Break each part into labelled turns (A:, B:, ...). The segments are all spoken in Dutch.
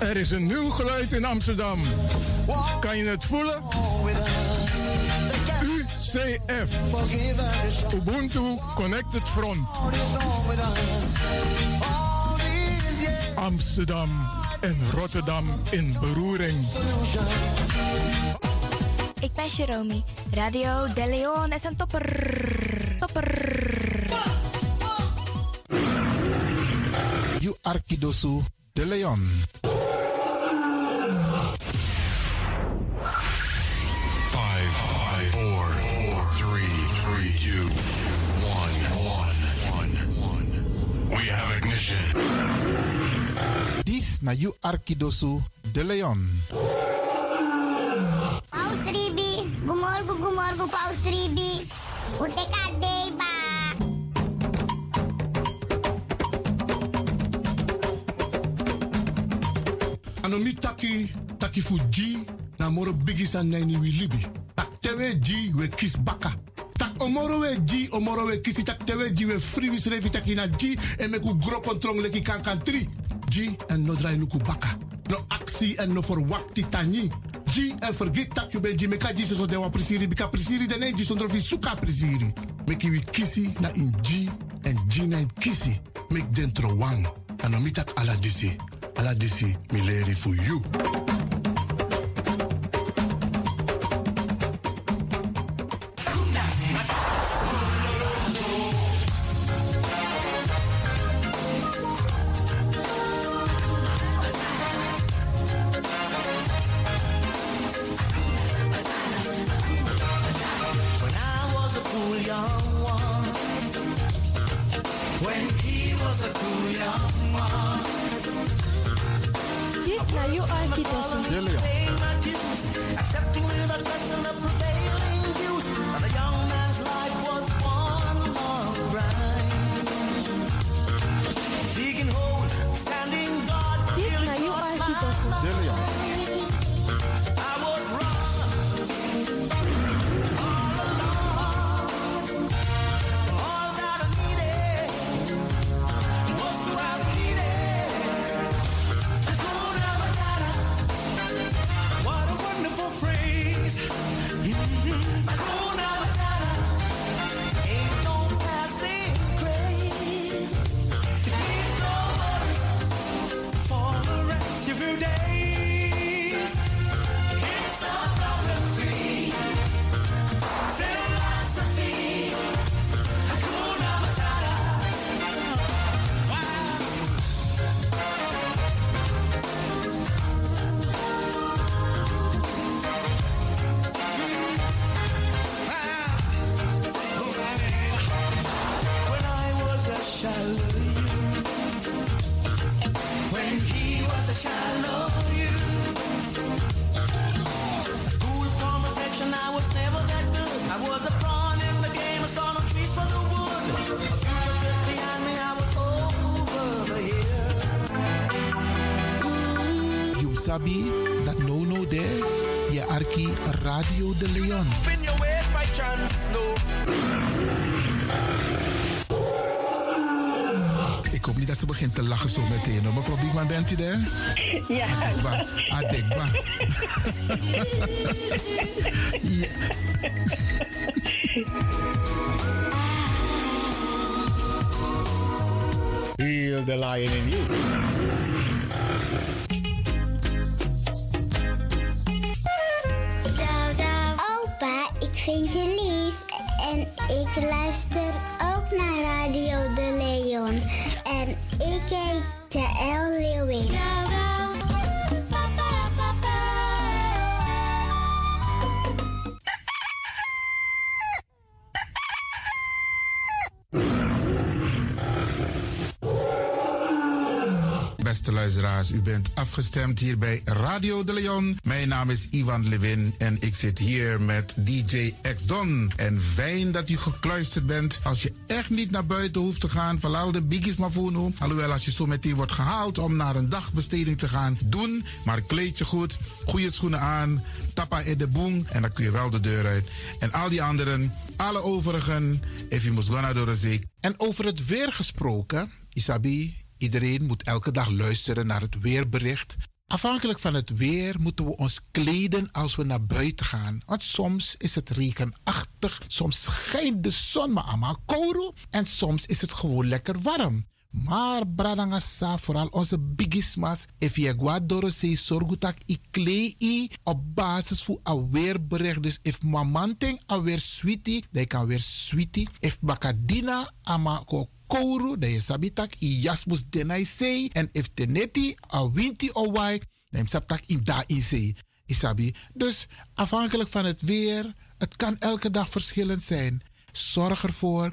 A: Er is een nieuw geluid in Amsterdam. Kan je het voelen? UCF. Ubuntu Connected Front. Amsterdam en Rotterdam in beroering.
B: Ik ben Jerome. Radio De Leon is een topper. Topper.
C: You Arkidosu de Leon.
D: Five, five, four, four, three, three, two, one, one, one, one. We have ignition.
C: This na You Arkidosu de Leon.
E: Paus Ribi, gumorgo, gumorgo, Paus Ribi. Uteka deba.
F: Anomi taki, taki fu G, na moro bigisan naini wi libi. Tak tewe G, we kiss baka. Tak omoro we G, omoro we kisi, tak tewe G, we free wis revi taki na G, en meku gro kontrong leki kankan tri. G, en no drai luku baka. No aksi en no forwakti tani. G, en vergit tak you ben G, meka G, so dewa prisiri, bika prisiri, dene G, sondro fi suka prisiri. Meki wi kisi na in G, en G na in kisi. Mek dentro wang. Anomi tak ala disi. Ala disi mi leri fu you.
G: When I was a cool young one. When he was a cool young one.
H: This now you are Kidosu.
G: De Leon. Paying my dues, accepting without question the prevailing views. And a young man's life was one long grind. Digging holes, standing guard. This now you are Kidosu. De Leon. I was wrong. What a wonderful phrase. Hakuna Matata. Ain't no passing craze. It means no worry for the rest of your days. It's a problem-free philosophy. Hakuna Matata. When I was a shallow you. When he was a shallow you. Cool from affection, I was never that good. I was a pawn in the game, I saw no trees for the wood. A future sits behind me, I was over the hill.
C: You sabi dat no no there. Je Arki Radio de Leon.
G: In your ways by chance, no.
C: Ik hoop niet dat ze begint te lachen zo meteen. hoor. Mevrouw Biekman, bent u daar?
I: Ja.
C: Adekba. Adekba. ja.
J: Heal the lion in you.
E: Opa, ik vind je lief. En ik luister ook naar Radio De Leon. En ik heet Jaël Leeuwin.
C: Beste luisteraars, u bent afgestemd hier bij Radio de Leon. Mijn naam is Ivan Levin en ik zit hier met DJ X Don. En fijn dat u gekluisterd bent. Als je echt niet naar buiten hoeft te gaan, verlaal de biggies maar voor nu. Alhoewel, als je zo meteen wordt gehaald om naar een dagbesteding te gaan, doen. Maar kleed je goed, goede schoenen aan, tappa in de boom en dan kun je wel de deur uit. En al die anderen, alle overigen, if you must go naar de En over het weer gesproken, Isabi, Iedereen moet elke dag luisteren naar het weerbericht. Afhankelijk van het weer moeten we ons kleden als we naar buiten gaan. Want soms is het regenachtig, soms schijnt de zon maar allemaal kouro en soms is het gewoon lekker warm. Maar bradangasa, vooral onze bigismas, if je guadoro se sorgutak i klei op basis van een weerbericht. Dus if mamanting a weer sweetie, dan kan weer sweetie. If bakadina ama ko kouru, dan je sabitak i jasmus denai sei. En if teneti a winti o wai, dan saptak i da i sei. Isabi. Dus afhankelijk van het weer, het kan elke dag verschillend zijn. Zorg ervoor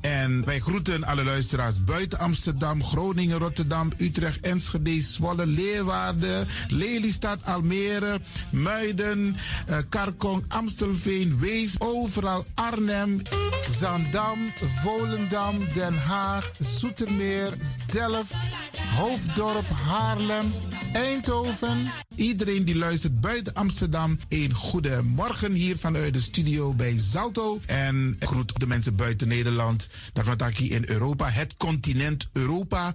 C: En wij groeten alle luisteraars buiten Amsterdam, Groningen, Rotterdam, Utrecht, Enschede, Zwolle, Leeuwarden, Lelystad, Almere, Muiden, eh, Karkong, Amstelveen, Wees, overal Arnhem, Zandam, Volendam, Den Haag, Zoetermeer, Delft, Hoofddorp, Haarlem, Eindhoven. Iedereen die luistert buiten Amsterdam, een goede morgen hier vanuit de studio bij Zalto. En ik groet de mensen buiten Nederland, daarvan hier in Europa, het continent Europa.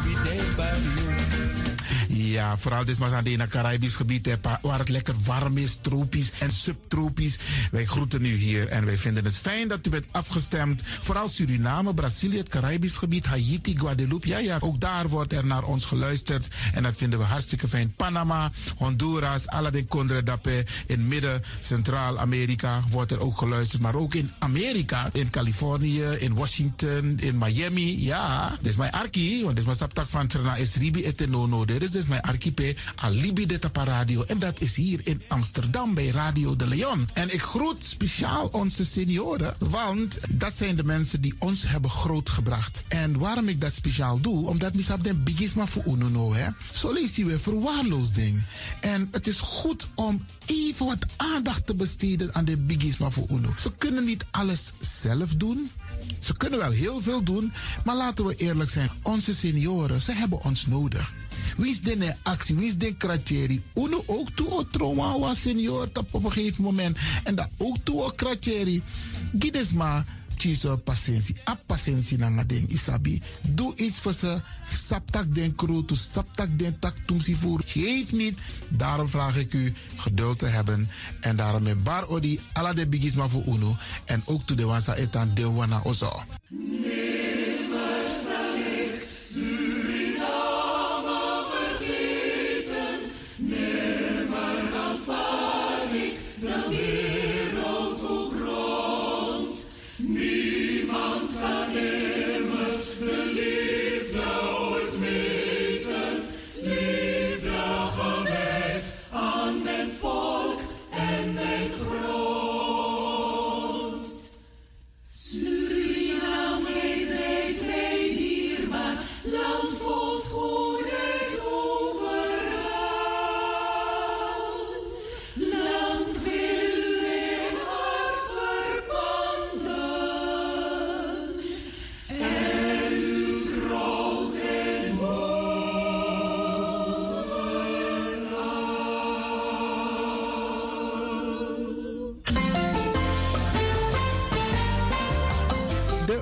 C: Ja, vooral dit was aan het Caribisch gebied, hè, pa- waar het lekker warm is, tropisch en subtropisch. Wij groeten u hier en wij vinden het fijn dat u bent afgestemd. Vooral Suriname, Brazilië, het Caribisch gebied, Haiti, Guadeloupe. Ja, ja, ook daar wordt er naar ons geluisterd en dat vinden we hartstikke fijn. Panama, Honduras, Aladdin Condre Dapé, in midden, Centraal-Amerika wordt er ook geluisterd. Maar ook in Amerika, in Californië, in Washington, in Miami. Ja, dit is mijn arki, want dit is mijn saptak van Trena is Ribi et Nono. Dit is dus mijn archipel, Alibi de Tapa Radio. En dat is hier in Amsterdam bij Radio de Leon. En ik groet speciaal onze senioren, want dat zijn de mensen die ons hebben grootgebracht. En waarom ik dat speciaal doe, omdat misap den bigisma voor ununo, hè. Zo lezen we verwaarloosding. En het is goed om even wat aandacht te besteden aan de bigisma voor uno. Ze kunnen niet alles zelf doen. Ze kunnen wel heel veel doen, maar laten we eerlijk zijn. Onze senioren, ze hebben ons nodig. Wie is de actie? Wie is de kratjeri? Uno ook toe o trauma was senior tap op een gegeven moment. En dat ook toe o kratjeri. Gides maar. Chiso patiëntie. A patiëntie na nga ding isabi. Doe iets voor ze. Saptak den kru, to saptak den tak tumsi voer. Geef niet. Daarom vraag ik u geduld te hebben. En daarom met bar odi ala de bigisma voor uno. En ook toe de wansa etan de wana ozo. De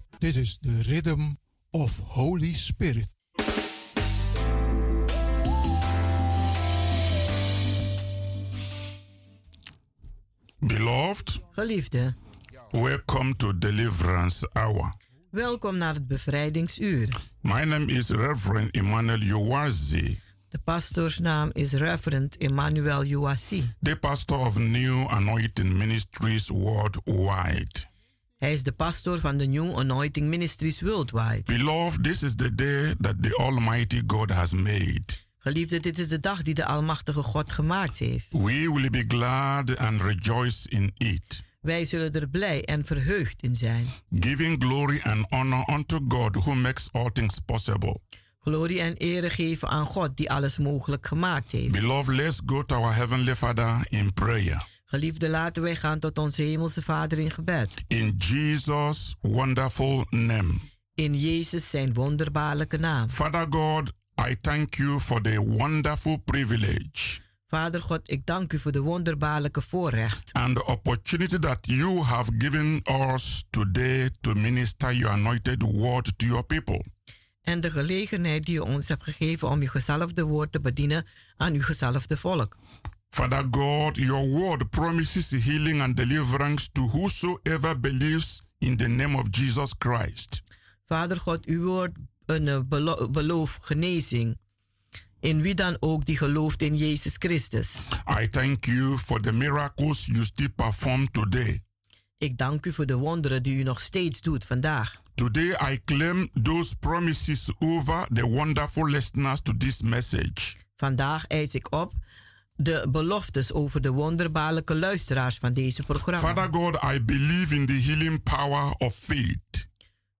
A: This is the rhythm of Holy Spirit.
K: Beloved,
F: Geliefde,
K: welcome to Deliverance Hour.
F: welkom naar het bevrijdingsuur.
K: My name is Reverend Emmanuel Uwazi,
F: De pastoorsnaam is Reverend Emmanuel Youassi.
K: the pastor of New Anointing Ministries worldwide.
F: Hij is de pastoor van de New Anointing Ministries Worldwide.
K: Beloved, this is the day that the Almighty God has made.
F: Geliefde, dit is de dag die de Almachtige God gemaakt heeft.
K: We will be glad and rejoice in it,
F: Wij zullen er blij en verheugd in zijn.
K: giving glory and honor unto God who makes all things possible.
F: Glorie en ere geven aan God die alles mogelijk gemaakt heeft.
K: Beloved, let's go to our Heavenly Father in prayer.
F: Geliefde, laten wij gaan tot onze Hemelse Vader in gebed.
K: In Jesus' wonderful name.
F: In Jezus zijn wonderbaarlijke naam.
K: Father God, I thank you for the wonderful privilege
F: Vader God, ik dank u voor de wonderbaarlijke voorrecht
K: and the opportunity that you have given us today to minister your anointed word to your people.
F: en de gelegenheid die u ons hebt gegeven om uw gezalfde woord te bedienen aan uw gezalfde volk.
K: Father God, your word promises healing and deliverance to whosoever believes in the name of Jesus Christ.
F: Vader God, uw woord een eh, belo- beloof genezing in wie dan ook die gelooft in Jezus Christus.
K: I thank you for the miracles you still perform today.
F: Ik dank u voor de wonderen die u nog steeds doet vandaag.
K: Today, I claim those promises over the wonderful listeners to this message.
F: Vandaag eis ik op de beloftes over de wonderbaarlijke luisteraars van deze programma.
K: Father God, I believe in the healing power of faith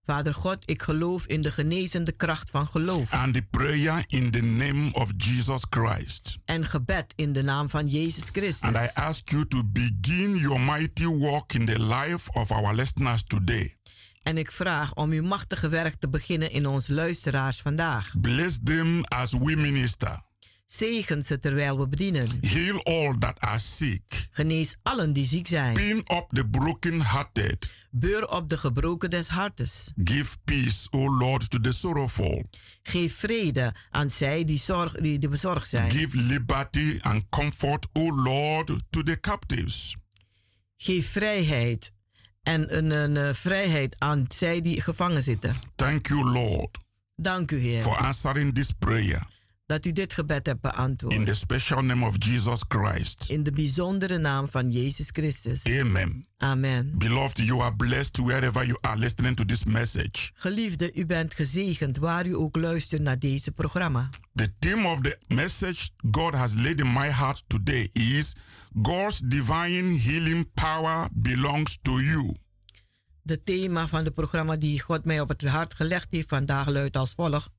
F: Vader God, ik geloof in de genezende kracht van geloof
K: and the prayer in the name of Jesus Christ.
F: en gebed in de naam van Jezus Christus.
K: And I ask you to begin your mighty work in the life of our listeners today.
F: En ik vraag om uw machtige werk te beginnen in ons luisteraars vandaag.
K: Bless them as we minister.
F: Zegen ze terwijl we bedienen.
K: Heal all that are sick.
F: Genees allen die ziek zijn.
K: Pin up the brokenhearted.
F: Beur op de gebroken des hartes.
K: Give peace, O Lord, to the sorrowful.
F: Geef vrede aan zij die, zorg, die, die bezorgd zijn.
K: Give liberty and comfort, O Lord, to the captives.
F: Geef vrijheid en een, een, eh, vrijheid aan zij die gevangen zitten.
K: Thank you, Lord,
F: Dank u, Heer,
K: for answering this prayer
F: dat u dit gebed hebt
K: in
F: beantwoord.
K: the special name of Jesus Christ.
F: In de bijzondere naam van Jezus Christus.
K: Amen.
F: Amen.
K: Beloved, you are blessed wherever you are listening to this message.
F: Geliefde, u bent gezegend waar u ook luistert naar deze programma.
K: The theme of the message God has laid in my heart today is God's divine healing power belongs to you.
F: De thema van het programma die God mij op het hart gelegd heeft vandaag luidt als volgt.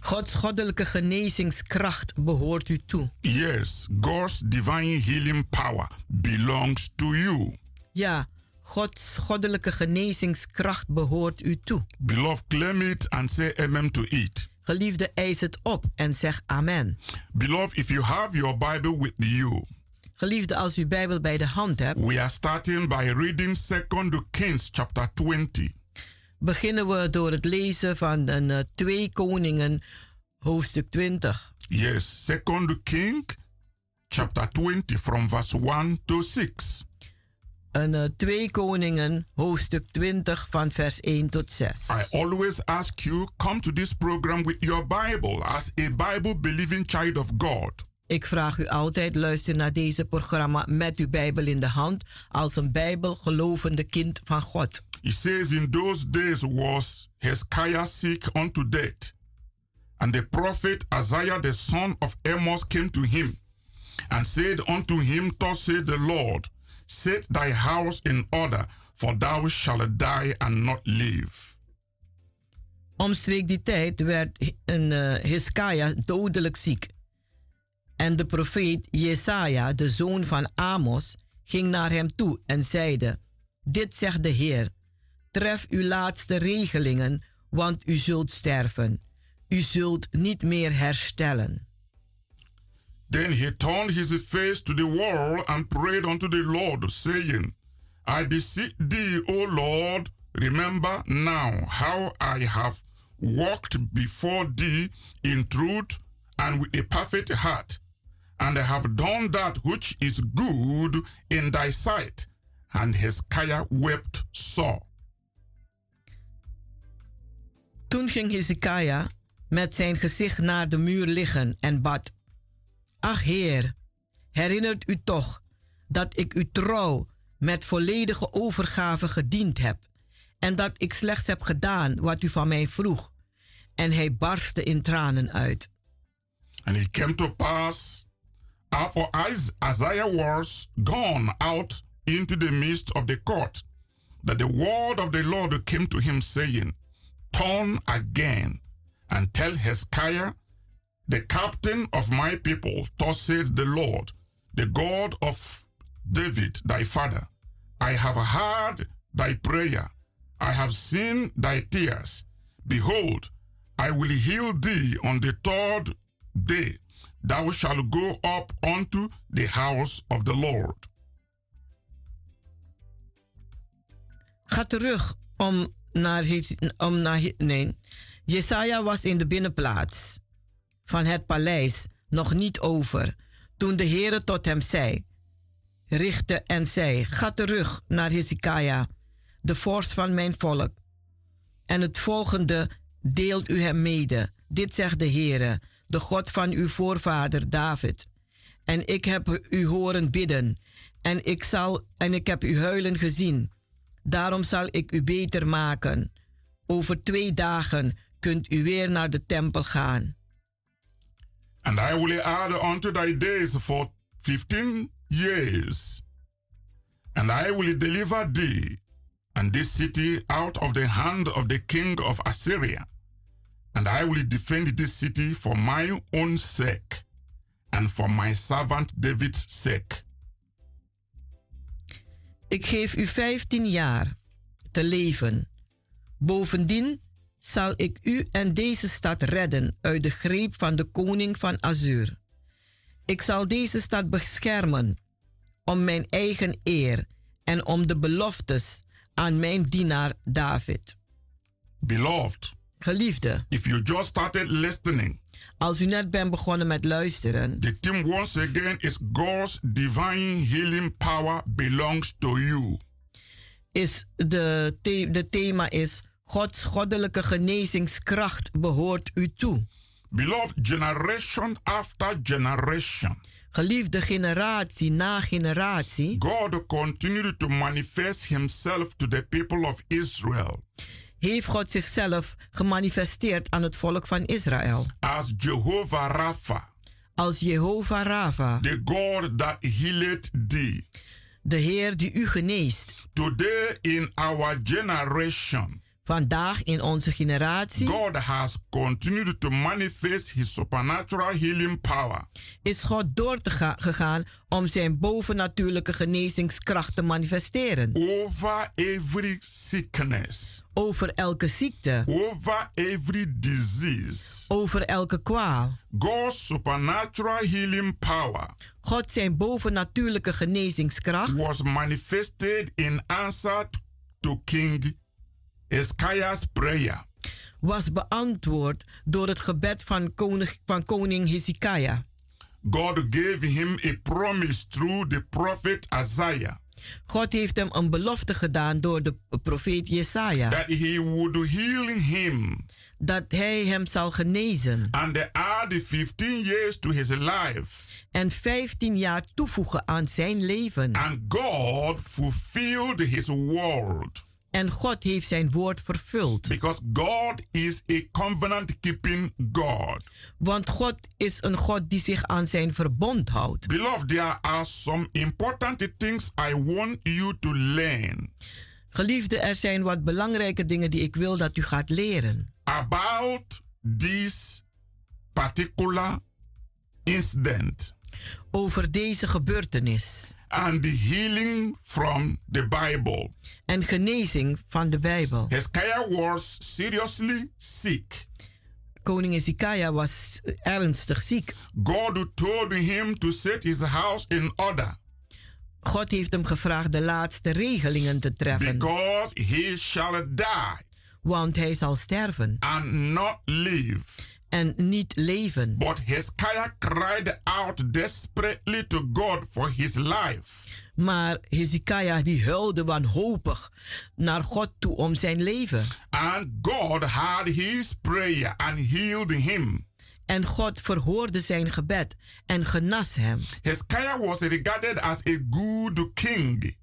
F: Gods goddelijke genezingskracht behoort u toe.
K: Yes, God's divine healing power belongs to you.
F: Ja, Gods goddelijke genezingskracht behoort u toe.
K: Beloved, claim it and say amen to it.
F: Geliefde, eis het op en zeg amen.
K: Beloved, if you have your Bible with you,
F: Geliefde, als u Bijbel bij de hand hebt,
K: we are starting by reading 2 Kings chapter 20.
F: beginnen we door het lezen van een, eh, 2 Koningen, hoofdstuk 20.
K: Yes, 2 King chapter 20 from verse 1 to 6.
F: Een, eh, 2 Koningen, hoofdstuk 20 van vers 1 tot 6.
K: I always ask you come to this program with your Bible as a Bible believing child of God.
F: Ik vraag u altijd luister naar deze programma met uw Bijbel in de hand als een Bijbelgelovende kind van God.
K: It says, In those days was Hezekiah sick unto death. And the prophet Isaiah the son of Amos came to him and said unto him, Thus saith the Lord, Set thy house in order, for thou shalt die and not live.
F: Omstreek die tijd werd een eh, Hiskia dodelijk ziek. En de profeet Jesaja, de zoon van Amos, ging naar hem toe en zeide: Dit zegt de Heer: Tref uw laatste regelingen, want u zult sterven. U zult niet meer herstellen.
K: Then he turned his face to the wall and prayed unto the Lord, saying, I beseech thee, O Lord, remember now how I have walked before thee in truth and with a perfect heart, and I have done that which is good in thy sight. And Hezekiah wept sore.
F: Toen ging Hezekiah met zijn gezicht naar de muur liggen en bad. Ach Heer, herinnert u toch dat ik u trouw met volledige overgave gediend heb en dat ik slechts heb gedaan wat u van mij vroeg. En hij barstte in tranen uit.
K: And it came to pass, after Is- Isaiah was gone out into the midst of the court, that the word of the Lord came to him, saying, Turn again and tell Hezekiah, the captain of my people, thus saith the Lord, the God of David, thy father, I have heard thy prayer, I have seen thy tears. Behold, I will heal thee on the third day. Thou shalt go up unto the house of the Lord.
F: Ga terug om naar, Hez- om naar He- nee. Jesaja was in de binnenplaats van het paleis nog niet over, toen de Heere tot hem zei, richtte en zei, ga terug naar Hezekiah, de vorst van mijn volk. En het volgende deelt u hem mede. Dit zegt de Heere, de God van uw voorvader David. En ik heb u horen bidden, en ik, zal, en ik heb u huilen gezien. Daarom zal ik u beter maken. Over twee dagen kunt u weer naar de tempel gaan.
K: And I will add unto thy days for fifteen years. And I will deliver thee and this city out of the hand of the king of Assyria. And I will defend this city for my own sake and for my servant David's sake.
F: Ik geef u 15 jaar te leven. Bovendien zal ik u en deze stad redden uit de greep van de koning van Azur. Ik zal deze stad beschermen om mijn eigen eer en om de beloftes aan mijn dienaar David.
K: Beloved,
F: Geliefde,
K: if you just started listening,
F: als u net bent begonnen met luisteren,
K: The theme once again is God's divine healing power belongs to you.
F: is de, the- de thema is Gods goddelijke genezingskracht behoort u toe.
K: Beloved, generation after generation,
F: Geliefde generatie na generatie
K: God continued to manifest himself to the people of Israel
F: heeft God zichzelf gemanifesteerd aan het volk van Israël.
K: as Jehovah Rapha,
F: Als Jehovah Rava,
K: the God that healeth thee.
F: de Heer die u geneest.
K: Today in our generation,
F: Vandaag in onze generatie
K: God has continued to manifest his supernatural healing power.
F: is God door te ga- gegaan om zijn bovennatuurlijke genezingskracht te manifesteren.
K: Over every sickness,
F: Over elke ziekte,
K: over every disease,
F: over elke kwaal.
K: God's supernatural healing power
F: God zijn bovennatuurlijke genezingskracht
K: was manifested in answer to King Hezekiah's prayer.
F: was beantwoord door het gebed van koning, van koning Hezekiah.
K: God gave him a promise through the prophet Isaiah
F: God heeft hem een belofte gedaan door de profeet Jesaja
K: that he would heal him
F: dat hij hem zal genezen
K: and add 15 years to his life.
F: en 15 jaar toevoegen aan zijn leven.
K: And God fulfilled his word
F: En God heeft zijn woord vervuld,
K: because God is a covenant keeping God.
F: want God is een God die zich aan zijn verbond houdt.
K: Beloved, there are some important things I want you to learn
F: Geliefde, er zijn wat belangrijke dingen die ik wil dat u gaat leren.
K: about this particular incident
F: Over deze gebeurtenis
K: and the healing from the Bible.
F: en genezing van de Bijbel.
K: Hezekiah was seriously sick.
F: Koning Hezekiah was ernstig ziek.
K: God told him to set his house in order
F: God heeft hem gevraagd de laatste regelingen te treffen,
K: because he shall die
F: want hij zal sterven
K: and not live.
F: en niet leven.
K: But Hezekiah cried out desperately to God for his life.
F: Maar Hezekiah die huilde wanhopig naar God toe om zijn leven.
K: And God heard his prayer and healed him.
F: En God verhoorde zijn gebed en genas hem.
K: Hezekiah was regarded as a good king.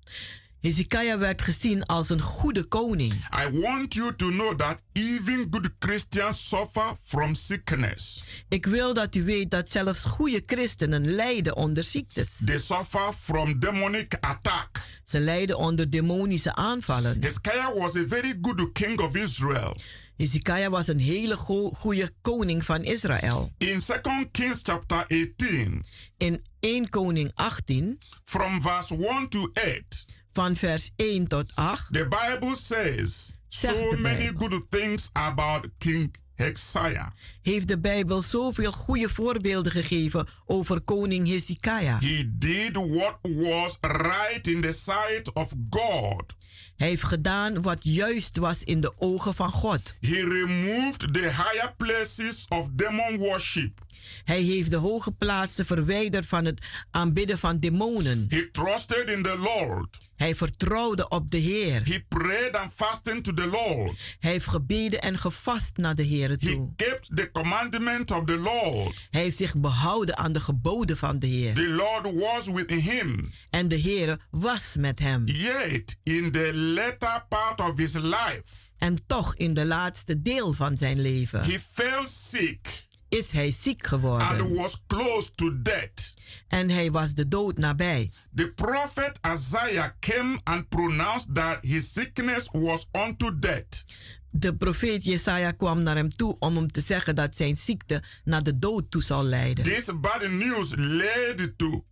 F: Hezekiah werd gezien als een goede koning.
K: I want you to know that even good Christians suffer from sickness.
F: Ik wil dat u weet dat zelfs goede christenen lijden onder ziektes.
K: They suffer from demonic attack.
F: Ze lijden onder demonische aanvallen.
K: Hezekiah was a very good king of Israel.
F: Hezekiah was een hele go- goede koning van Israël.
K: In 2 Kings chapter 18,
F: In 1 Koning 18,
K: from verse 1 to 8,
F: van vers 1 tot 8,
K: the Bible says
F: Zegt
K: so
F: de
K: many
F: Bijbel.
K: good things about King Hezekiah.
F: heeft de Bijbel zoveel goede voorbeelden gegeven over koning Hezekiah.
K: He did what was right in the sight of God.
F: Hij heeft gedaan wat juist was in de ogen van God.
K: He removed the higher places of demon worship.
F: Hij heeft de hoge plaatsen verwijderd van het aanbidden van demonen.
K: He trusted in the Lord.
F: Hij vertrouwde op de Heer.
K: He prayed and fasted to the Lord.
F: Hij heeft gebeden en gevast naar de Heer
K: He
F: toe.
K: kept the commandment of the Lord.
F: Hij heeft zich behouden aan de geboden van de Heer.
K: The Lord was with him.
F: En de Heer was met hem.
K: Yet, in the latter part of his life,
F: En toch in de laatste deel van zijn leven
K: he fell sick
F: is hij ziek
K: and
F: geworden.
K: was close to death.
F: En hij was de dood nabij.
K: The prophet Isaiah came and pronounced that his sickness was unto death.
F: De profeet Jesaja kwam naar hem toe om hem te zeggen dat zijn ziekte naar de dood toe zal leiden.
K: This bad news led to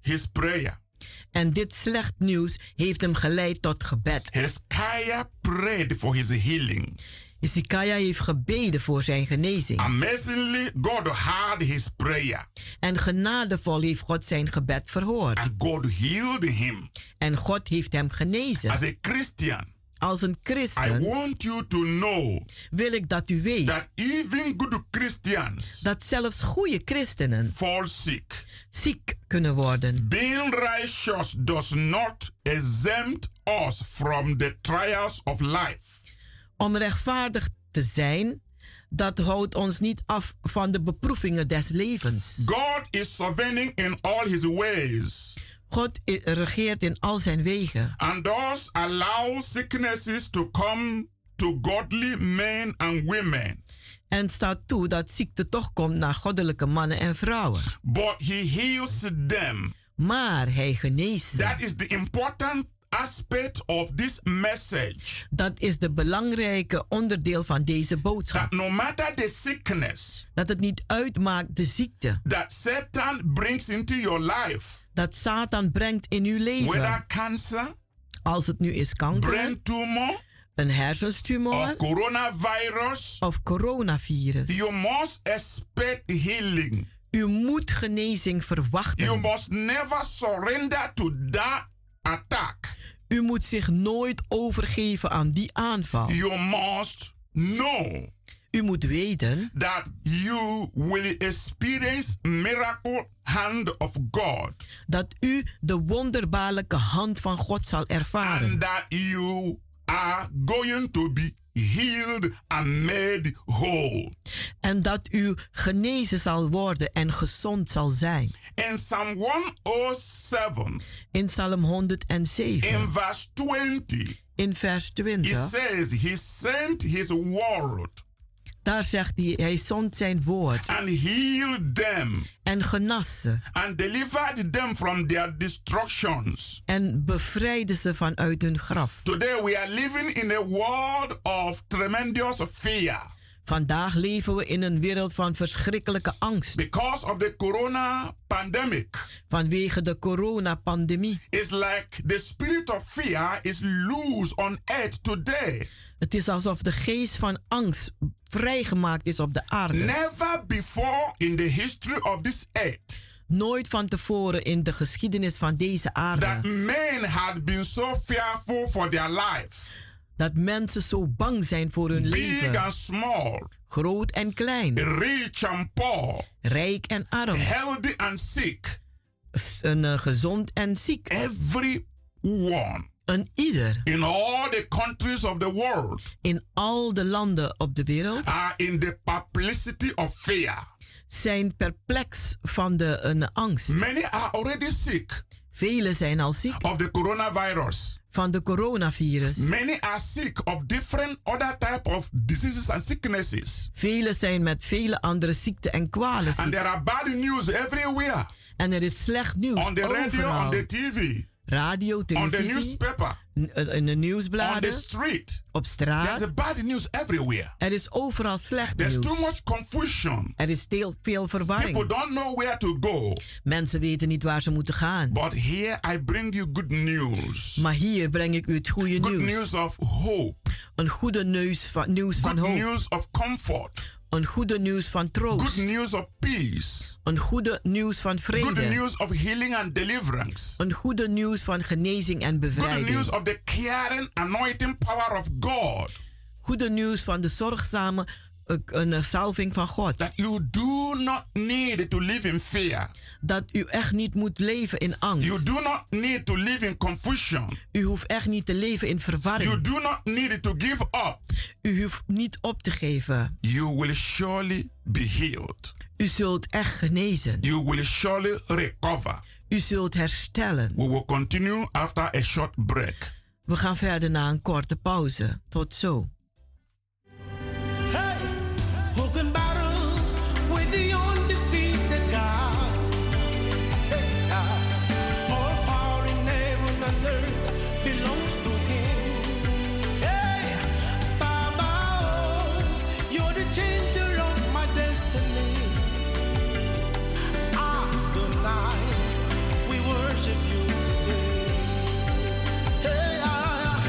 K: his prayer.
F: En dit slecht nieuws heeft hem geleid tot gebed.
K: Hezekiah prayed for his healing.
F: Hezekiah heeft gebeden voor zijn genezing.
K: Amazingly, God heard his prayer
F: En genadevol heeft God zijn gebed verhoord.
K: and God healed him.
F: En God heeft hem genezen.
K: As a Christian,
F: Als een
K: I
F: christen
K: want you to know
F: wil ik dat u weet
K: that even good Christians
F: dat zelfs goede christenen
K: fall sick.
F: ziek kunnen worden.
K: Being righteous does not exempt us from the trials of life.
F: Om rechtvaardig te zijn, dat houdt ons niet af van de beproevingen des levens.
K: God is sovereign in all his ways
F: God i- regeert in al zijn wegen
K: and thus allows sicknesses to come to godly men and women.
F: en staat toe dat ziekte toch komt naar goddelijke mannen en vrouwen.
K: But he heals them.
F: Maar hij geneest. ze.
K: That is the important aspect of this message.
F: Dat is de belangrijke onderdeel van deze boodschap.
K: That no matter the sickness
F: Dat het niet uitmaakt de ziekte
K: that Satan brings into your life,
F: dat Satan brengt in uw leven.
K: whether cancer,
F: Als het nu is kanker,
K: brain tumor,
F: een
K: or
F: hersenstumor
K: coronavirus,
F: of
K: you
F: coronavirus.
K: must expect healing.
F: U moet genezing
K: You
F: verwachten.
K: must never surrender to that attack.
F: U moet zich nooit overgeven aan die aanval.
K: You must know
F: U moet weten
K: that you will experience miracle hand of God.
F: dat u de wonderbaarlijke hand van God zal
K: and
F: ervaren.
K: that you are going to be healed and made whole.
F: En dat u genezen zal worden en gezond zal zijn.
K: In Psalm 107,
F: In Psalm 107.
K: in verse 20,
F: in vers
K: it
F: 20.
K: says, He sent His word
F: Daar zegt hij, hij zond zijn woord
K: and healed them
F: en genas ze
K: and delivered them from their destructions.
F: en bevrijdde ze vanuit hun graf.
K: Today we are living in a world of tremendous fear
F: Vandaag leven we in een wereld van verschrikkelijke angst
K: because of the corona pandemic.
F: vanwege de coronapandemie.
K: It's like the spirit of fear is loose on earth today.
F: Het is alsof de geest van angst vrijgemaakt is op de aarde.
K: Never before in the history of this earth
F: Nooit van tevoren in de geschiedenis van deze
K: that
F: aarde
K: men had been so fearful for their life,
F: dat mensen zo bang zijn voor hun
K: big
F: leven,
K: and small,
F: groot en klein,
K: rich and poor,
F: rijk en arm,
K: healthy and sick.
F: s- een, eh, gezond en ziek.
K: Everyone
F: Een ieder
K: in all the countries of the world
F: in al de landen op de wereld
K: are in the perplexity of fear.
F: zijn perplex van de een angst.
K: Many are already sick
F: Velen zijn al ziek
K: of the coronavirus.
F: van de coronavirus.
K: Many are sick of different other type of diseases and sicknesses.
F: Velen zijn met vele andere ziekten en kwalen
K: And
F: ziek.
K: there are bad news everywhere.
F: En er is slecht nieuws
K: on the radio, on
F: overal.
K: the TV,
F: Radio,
K: on the
F: televisie,
K: newspaper,
F: n- eh, in de
K: on the
F: nieuwsbladen,
K: street.
F: op
K: There's
F: straat.
K: a bad news everywhere.
F: Er is overal slecht
K: There's too
F: nieuws.
K: much confusion.
F: Er is heel veel
K: People
F: verwarring.
K: don't know where to go.
F: Mensen weten niet waar ze moeten gaan.
K: But here I bring you good news.
F: Maar hier breng ik u het goede
K: Good
F: nieuws.
K: news of hope.
F: Een goede neus van, nieuws van
K: Good
F: hoop.
K: news of comfort.
F: Een goede nieuws van
K: Good
F: troost.
K: news of peace.
F: Een goede nieuws van
K: Good
F: vrede.
K: news of healing and deliverance.
F: Een goede nieuws van genezing en
K: Good news
F: bevrijding.
K: of the caring, anointing power of God.
F: Goede nieuws van de zorgzame eh, een eh, salving van God.
K: That you do not need to live in fear.
F: Dat u echt niet moet leven in
K: You
F: angst.
K: do not need to live in confusion.
F: U hoeft echt niet te leven in
K: You
F: verwarring.
K: do not need to give up.
F: U hoeft niet op te geven.
K: You will surely be healed.
F: U zult echt genezen.
K: You will surely recover.
F: U zult herstellen.
K: We will continue after a short break.
F: We gaan verder na een korte pauze. Tot zo.
L: Hey, who can battle with the undefeated God? Hey, ah, all power in heaven and earth belongs to Him. Hey, Baba, oh, you're the changer of my destiny. Adonai, we worship you today. Hey, ah,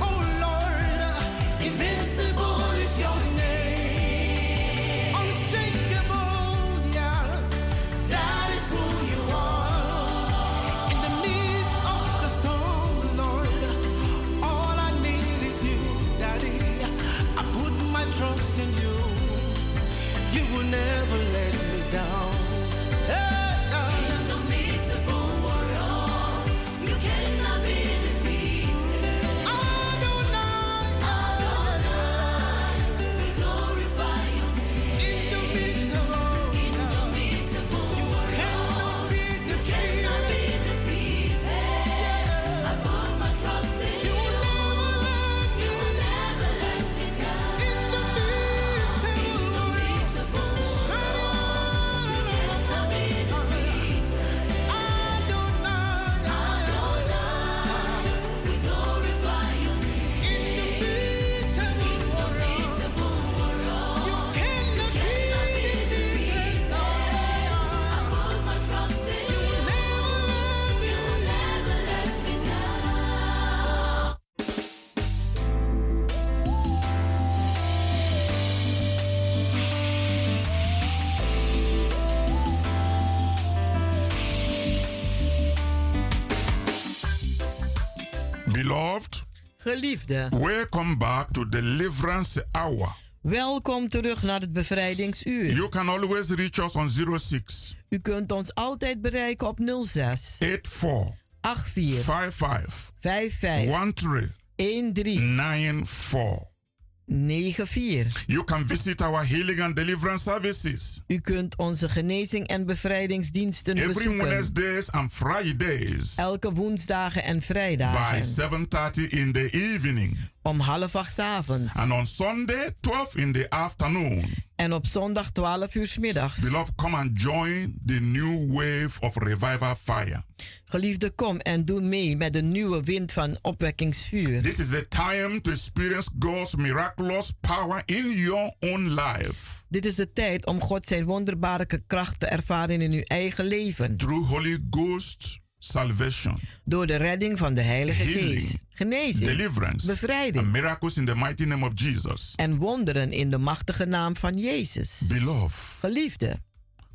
L: oh Lord, invincible is your name. Unshakable, yeah, that is who you are. In the midst of the storm, Lord, all I need is you, Daddy. I put my trust in you. You will never let me down. Hey, ah.
K: Beloved,
F: Geliefde,
K: welcome back to Deliverance Hour.
F: welkom terug naar het bevrijdingsuur.
K: You can always reach us on 06
F: U kunt ons altijd bereiken op 06
K: 84
F: 84
K: 55
F: 55
K: 1394.
F: 13 94.
K: You can visit our healing and deliverance services
F: U kunt onze genezing en bevrijdingsdiensten
K: every
F: bezoeken.
K: Wednesdays and Fridays
F: Elke woensdagen en
K: by
F: vrijdagen
K: 7:30 in the evening.
F: om half acht 's avonds.
K: And on Sunday, 12 in the afternoon.
F: En op zondag 12 uur 's middags.
K: Beloved, come and join the new wave of revival fire.
F: Geliefde, kom en doe mee met de nieuwe wind van opwekkingsvuur.
K: This is the time to experience God's miraculous power in your own life
F: Dit is de tijd om God zijn wonderbare kracht te ervaren in uw eigen leven.
K: through Holy Ghost salvation,
F: Door de redding van de Heilige
K: Healing.
F: Geest. Genezing.
K: deliverance,
F: Bevrijding.
K: and miracles in the mighty name of Jesus.
F: En wonderen in de machtige naam van Jezus.
K: Beloved,
F: Geliefde,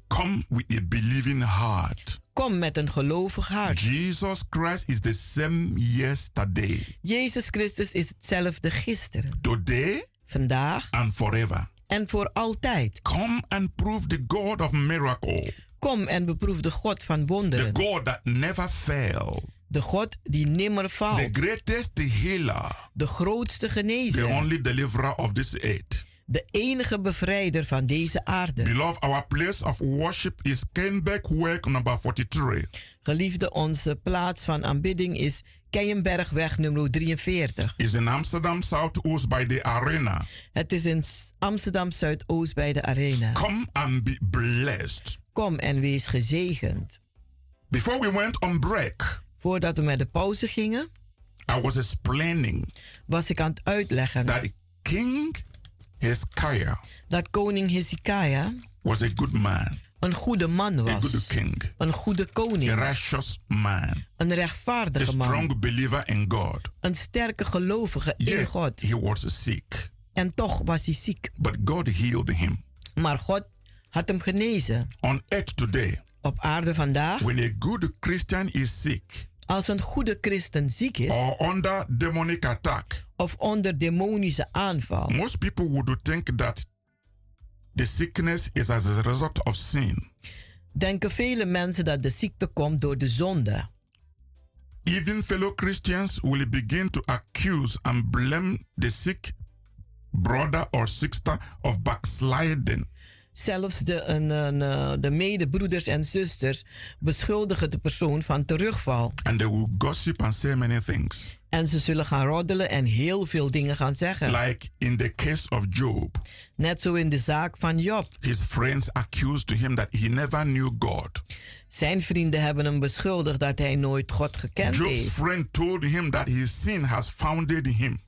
K: come with a believing heart.
F: kom met een gelovig hart.
K: Jesus Christ is the same yesterday,
F: Jezus Christus is hetzelfde gisteren,
K: today,
F: vandaag
K: and forever.
F: en voor altijd.
K: Come and prove the God of miracle,
F: Kom en beproef de God van
K: the
F: wonderen.
K: God that never fails,
F: De God die nimmer
K: the
F: faalt.
K: greatest healer,
F: De grootste
K: the
F: genezer.
K: only deliverer of this earth.
F: De enige bevrijder van deze aarde.
K: Beloved, our place of worship is Kenbeck Work number 43.
F: Geliefde, onze plaats van aanbidding is Keienbergweg nummer 43.
K: It's in Amsterdam Southoost by the arena.
F: Het is in S- Amsterdam Zuidoost bij de Arena.
K: Come and be blessed.
F: Kom en wees gezegend.
K: Before we went on break,
F: Voordat we met de pauze gingen,
K: I was explaining
F: was ik aan het uitleggen
K: that King Hezekiah
F: dat koning Hezekiah
K: was a good man,
F: een goede man
K: a good
F: was.
K: king,
F: Een goede
K: a
F: koning,
K: righteous man,
F: een
K: a
F: rechtvaardige
K: strong
F: man,
K: believer in God.
F: een sterke gelovige in
K: Yet
F: God.
K: he was sick,
F: En toch was hij ziek.
K: but God healed him.
F: Maar God had hem genezen.
K: On earth today,
F: Op aarde vandaag,
K: when a good Christian is sick
F: als een goede christen ziek is
K: or under demonic attack,
F: of onder demonische aanval,
K: Most people would think that the sickness is as a result of sin,
F: denken vele mensen dat de ziekte komt door de zonde.
K: even fellow Christians will begin to accuse and blame the sick brother or sister of backsliding.
F: Zelfs de, een, een, eh, de medebroeders en zusters beschuldigen de persoon van terugval.
K: And they will gossip and say many things.
F: En ze zullen gaan roddelen en heel veel dingen gaan zeggen.
K: Like in the case of Job,
F: Net zo in de zaak van Job.
K: his friends accused him that he never knew God.
F: Zijn vrienden hebben hem beschuldigd dat hij nooit God gekend
K: Job's
F: heeft.
K: friend told him that his sin has founded him.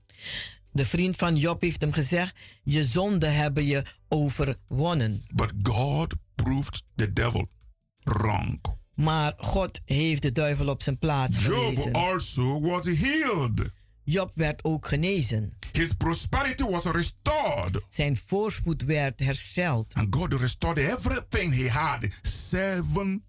F: De vriend van Job heeft hem gezegd: Je zonden hebben je overwonnen.
K: But God proved the devil wrong.
F: Maar God heeft de duivel op zijn plaats
K: Job oh.
F: gewezen.
K: also was healed.
F: Job werd ook genezen.
K: His prosperity was restored.
F: Zijn voorspoed werd hersteld.
K: And God restored everything he had sevenfold.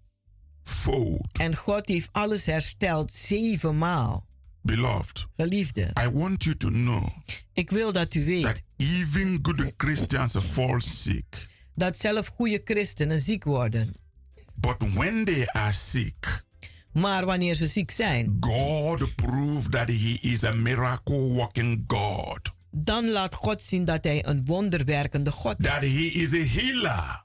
F: En God heeft alles hersteld zevenmaal.
K: Beloved,
F: Geliefde,
K: I want you to know
F: ik wil dat u weet
K: that even good Christians fall sick.
F: dat zelf goede christenen ziek worden.
K: But when they are sick,
F: Maar wanneer ze ziek zijn,
K: God proved that he is a miracle working God,
F: dan laat God zien dat hij een wonderwerkende God
K: that
F: is.
K: he is a healer,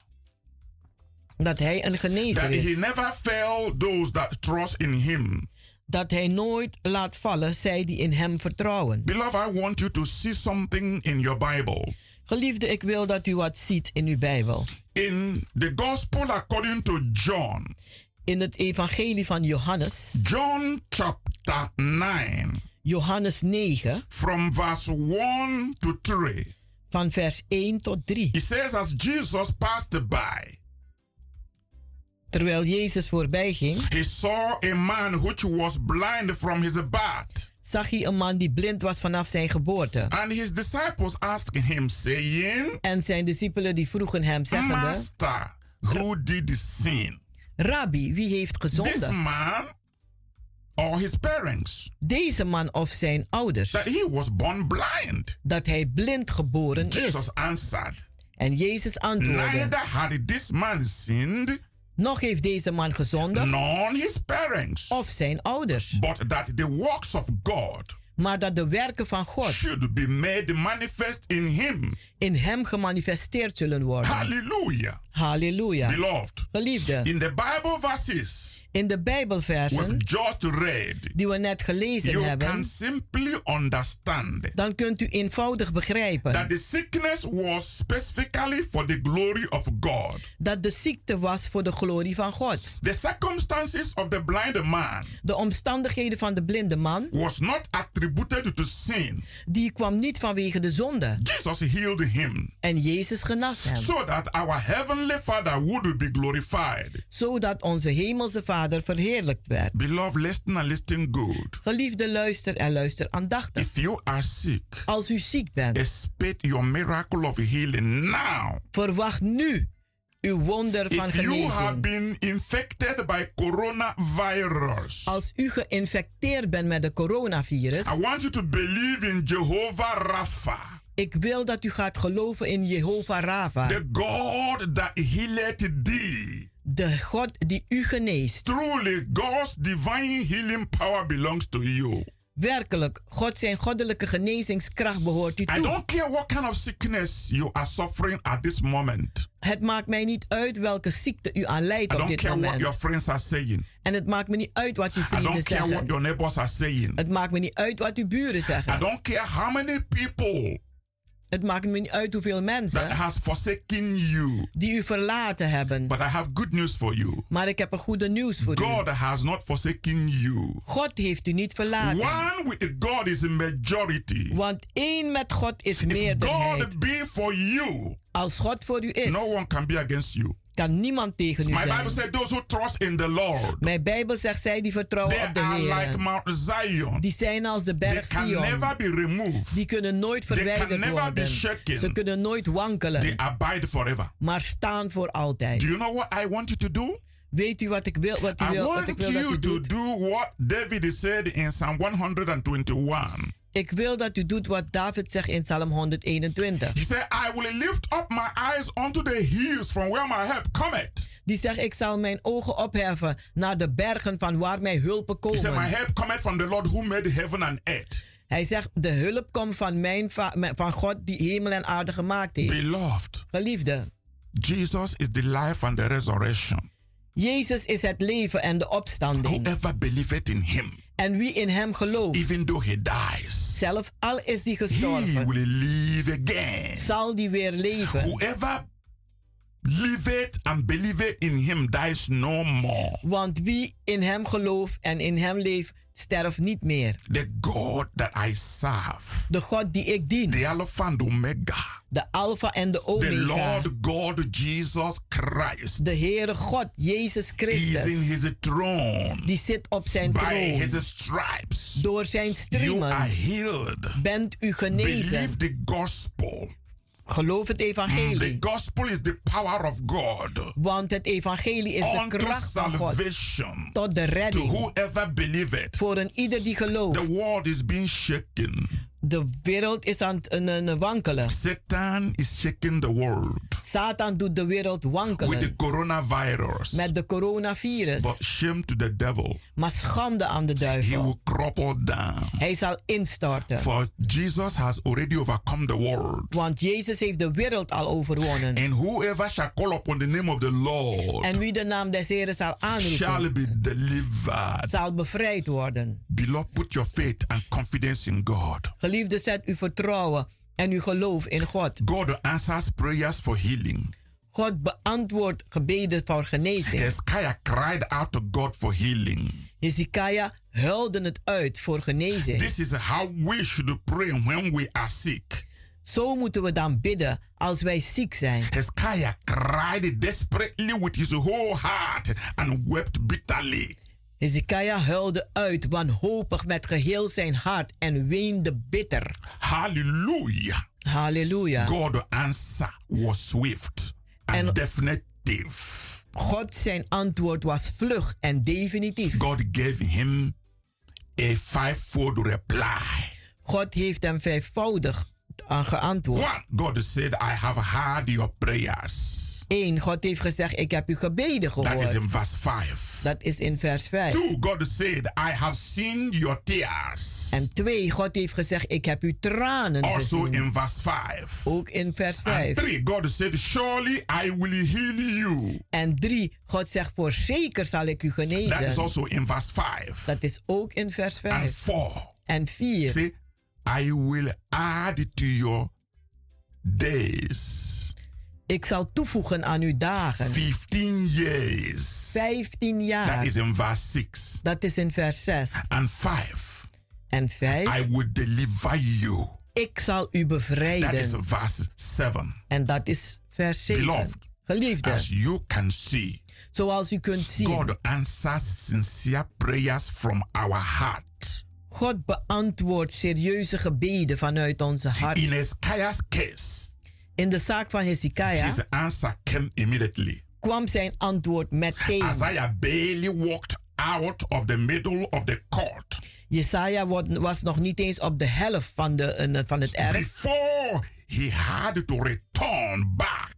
F: Dat hij een genezer
K: that he
F: is.
K: never failed those that trust in him.
F: Dat hij nooit laat vallen zij die in hem vertrouwen.
K: Beloved, I want you to see something in your Bible.
F: Geliefde, ik wil dat u wat ziet in uw Bijbel.
K: In the Gospel according to John,
F: In het evangelie van Johannes,
K: John chapter 9,
F: Johannes 9,
K: from verse 1 to 3,
F: van vers 1 tot 3.
K: he says, As Jesus passed by,
F: Terwijl Jezus voorbij ging,
K: he saw a man which was blind from his birth.
F: zag hij een man die blind was vanaf zijn geboorte.
K: And his disciples asked him, saying,
F: En zijn discipelen die vroegen hem, zeggende,
K: Master, who did the sin?
F: Rabbi, wie heeft
K: This
F: gezonden?
K: man or his parents?
F: Deze man of zijn ouders?
K: That he was born blind.
F: Dat hij blind geboren
K: Jesus
F: is.
K: answered,
F: En Jezus
K: Neither
F: antwoordde,
K: had this man sinned,
F: nog heeft deze man gezondigd
K: nor his parents,
F: of zijn ouders,
K: but that the works of God
F: maar dat de werken van God
K: should be made manifest in him.
F: in hem gemanifesteerd zullen worden.
K: Hallelujah.
F: Halleluja.
K: Beloved,
F: Geliefde,
K: in the Bible verses
F: in de
K: we've
F: Bijbelversen
K: just read,
F: die we net
K: you
F: gelezen
K: can
F: hebben,
K: simply understand
F: dan kunt u eenvoudig begrijpen
K: that the sickness was specifically for the glory of God.
F: dat de ziekte was voor de glorie van God.
K: The circumstances of the blind man
F: De omstandigheden van de blinde man,
K: was not attributed to sin.
F: die kwam niet vanwege de zonde.
K: Jesus healed him
F: En Jezus genas hem,
K: so that our heavenly Father would be glorified.
F: zodat onze hemelse Vader verheerlijkt werd.
K: Beloved, listen and listen good.
F: Geliefde, luister en luister aandachtig.
K: If you are sick,
F: Als u ziek bent,
K: expect your miracle of healing now.
F: verwacht nu uw wonder van
K: If you have
F: genezing.
K: been infected by coronavirus,
F: Als u geïnfecteerd bent met het coronavirus,
K: I want you to believe in Jehovah Rapha,
F: ik wil dat u gaat geloven in Jehovah Rava,
K: the God that healed thee.
F: de God die u geneest.
K: Truly, God's divine healing power belongs to you.
F: Werkelijk, God zijn goddelijke genezingskracht behoort u
K: I
F: toe.
K: don't care what kind of sickness you are suffering at this moment.
F: Het maakt mij niet uit welke ziekte u aan
K: I
F: lijdt op
K: don't
F: dit
K: care what your
F: moment.
K: friends are saying.
F: En het maakt me niet uit wat uw
K: I
F: vrienden
K: don't care what
F: zeggen.
K: your neighbors are saying.
F: Het maakt me niet uit wat uw buren
K: I
F: zeggen.
K: don't care how many people
F: Het maakt me niet uit hoeveel
K: that
F: mensen
K: has forsaken you.
F: die u verlaten hebben.
K: But I have good news for you.
F: Maar ik heb een goede nieuws voor u.
K: God has not forsaken you.
F: God heeft u niet verlaten.
K: One with God is a majority.
F: Want één met God is
K: If
F: meerderheid.
K: God be for you,
F: Als God voor u is,
K: no one can be against you.
F: kan niemand tegen u
K: My Bible
F: zijn.
K: said those who trust in the Lord,
F: Mijn Bijbel zegt, zij die vertrouwen
K: they
F: op de
K: are like
F: Heer,
K: Mount Zion.
F: die zijn als de
K: They
F: berg
K: can
F: Sion.
K: never be removed.
F: Die kunnen nooit
K: They can
F: verwijderd
K: never be
F: worden.
K: shaken.
F: Ze kunnen nooit
K: They
F: wankelen,
K: abide forever.
F: maar staan voor altijd.
K: Do you know what I want you to do?
F: Weet u wat ik wil, wat u
K: I
F: wil, wat ik
K: want
F: wil dat
K: you
F: u
K: to
F: doet?
K: do what David said in Psalm 121.
F: Ik wil dat u doet wat David zegt in Psalm 121.
K: He said, I will lift up my eyes unto the hills from where my help cometh.
F: Die zegt, ik zal mijn ogen opheffen naar de bergen van waar mijn hulpen
K: He said, My
F: komen.
K: help cometh from the Lord who made heaven and earth.
F: Hij zegt, de hulp komt van, mijn va- mijn- van God die hemel en aarde gemaakt heeft.
K: Beloved,
F: Geliefde,
K: Jesus is the life and the resurrection.
F: Jezus is het leven en de opstanding.
K: Whoever believeth in him,
F: En wie in hem gelooft,
K: even though he dies,
F: zelf al is die
K: he will
F: gestorven,
K: live again.
F: zal die weer leven.
K: Whoever liveth and believeth in him dies no more.
F: Want wie in hem gelooft en in hem leeft, sterft niet meer.
K: The God that I serve,
F: De God die ik dien,
K: the Alpha and Omega,
F: de Alpha en de
K: the
F: Omega,
K: Lord God Jesus Christ.
F: de Heere God, Jezus
K: He is in
F: Christus,
K: his throne.
F: die zit op zijn
K: By
F: troon.
K: his stripes,
F: Door zijn
K: you are
F: striemen
K: healed.
F: bent u genezen.
K: Believe the gospel.
F: Geloof het
K: The
F: evangelie.
K: gospel is the power of God
F: Want het evangelie is de
K: unto
F: kracht van God
K: salvation
F: tot de
K: to
F: redding.
K: whoever believeth.
F: Voor een ieder die
K: The
F: gelooft.
K: world is being shaken.
F: De wereld is aan het een- een wankelen.
K: Satan is shaking the world
F: Satan doet de wereld
K: with the
F: wankelen.
K: coronavirus.
F: Met de
K: But
F: coronavirus.
K: shame to the devil.
F: Maar schande aan de
K: He
F: duivel.
K: will crumble down.
F: Hij zal instorten.
K: For Jesus has already overcome the world.
F: Want Jezus heeft de wereld al overwonnen.
K: And whoever shall call upon the name of the Lord
F: En wie de naam des Heren zal
K: shall
F: aanroepen,
K: be delivered.
F: zal bevrijd worden.
K: Beloved, put your faith and confidence in God.
F: Geliefde, zet uw vertrouwen en uw geloof in God.
K: God answers prayers for healing.
F: God beantwoordt gebeden voor genezing.
K: Hezekiah cried out to God for healing.
F: Hezekiah huilde het uit voor genezing.
K: This is how we should pray when we are sick.
F: Zo moeten we dan bidden als wij ziek zijn.
K: Hezekiah cried desperately with his whole heart and wept bitterly.
F: Hezekiah huilde uit wanhopig met geheel zijn hart en weende bitter.
K: Hallelujah.
F: Halleluja.
K: God's answer was swift
F: Ah.
K: and,
F: And-
K: definitive.
F: God zijn antwoord was vlug en definitief.
K: God gave him a fivefold reply.
F: God heeft hem vijfvoudig aan geantwoord.
K: One, God said, I have heard your prayers.
F: 1. God heeft gezegd, ik heb u gebeden
K: That is
F: gehoord.
K: in verse 5.
F: Dat is in vers 5.
K: 2. God said, I have seen your tears.
F: En 2. God heeft gezegd, ik heb uw tranen
K: Also
F: gezien.
K: Oh, in Ah, verse 5.
F: Ook in vers
K: And
F: 5.
K: 3. God said, Surely I will heal you.
F: En 3. God zegt, voorzeker zal ik u
K: That is Ah.
F: genezen.
K: also in verse 5.
F: Dat is ook in vers
K: And
F: 5.
K: 4.
F: En 4.
K: Say, I will add to your days
F: Ik zal toevoegen aan uw dagen.
K: 15 years.
F: 15
K: That is
F: jaar.
K: in verse 6.
F: Dat is in vers 6.
K: And 5.
F: En 5.
K: I will deliver you.
F: Ik zal u
K: That is
F: bevrijden.
K: verse 7.
F: En dat is vers 7.
K: Beloved,
F: Geliefde,
K: As you can see,
F: zoals u kunt zien,
K: God answers sincere prayers from our heart.
F: God beantwoordt serieuze gebeden vanuit onze hart.
K: In Hezekiah's case,
F: In de zaak van Hezekiah
K: his answer came immediately.
F: kwam zijn antwoord meteen.
K: Isaiah barely walked out of the middle of the court
F: Jesaja wordt- was nog niet eens op de helft van, de, eh, van het erf
K: before he had to return back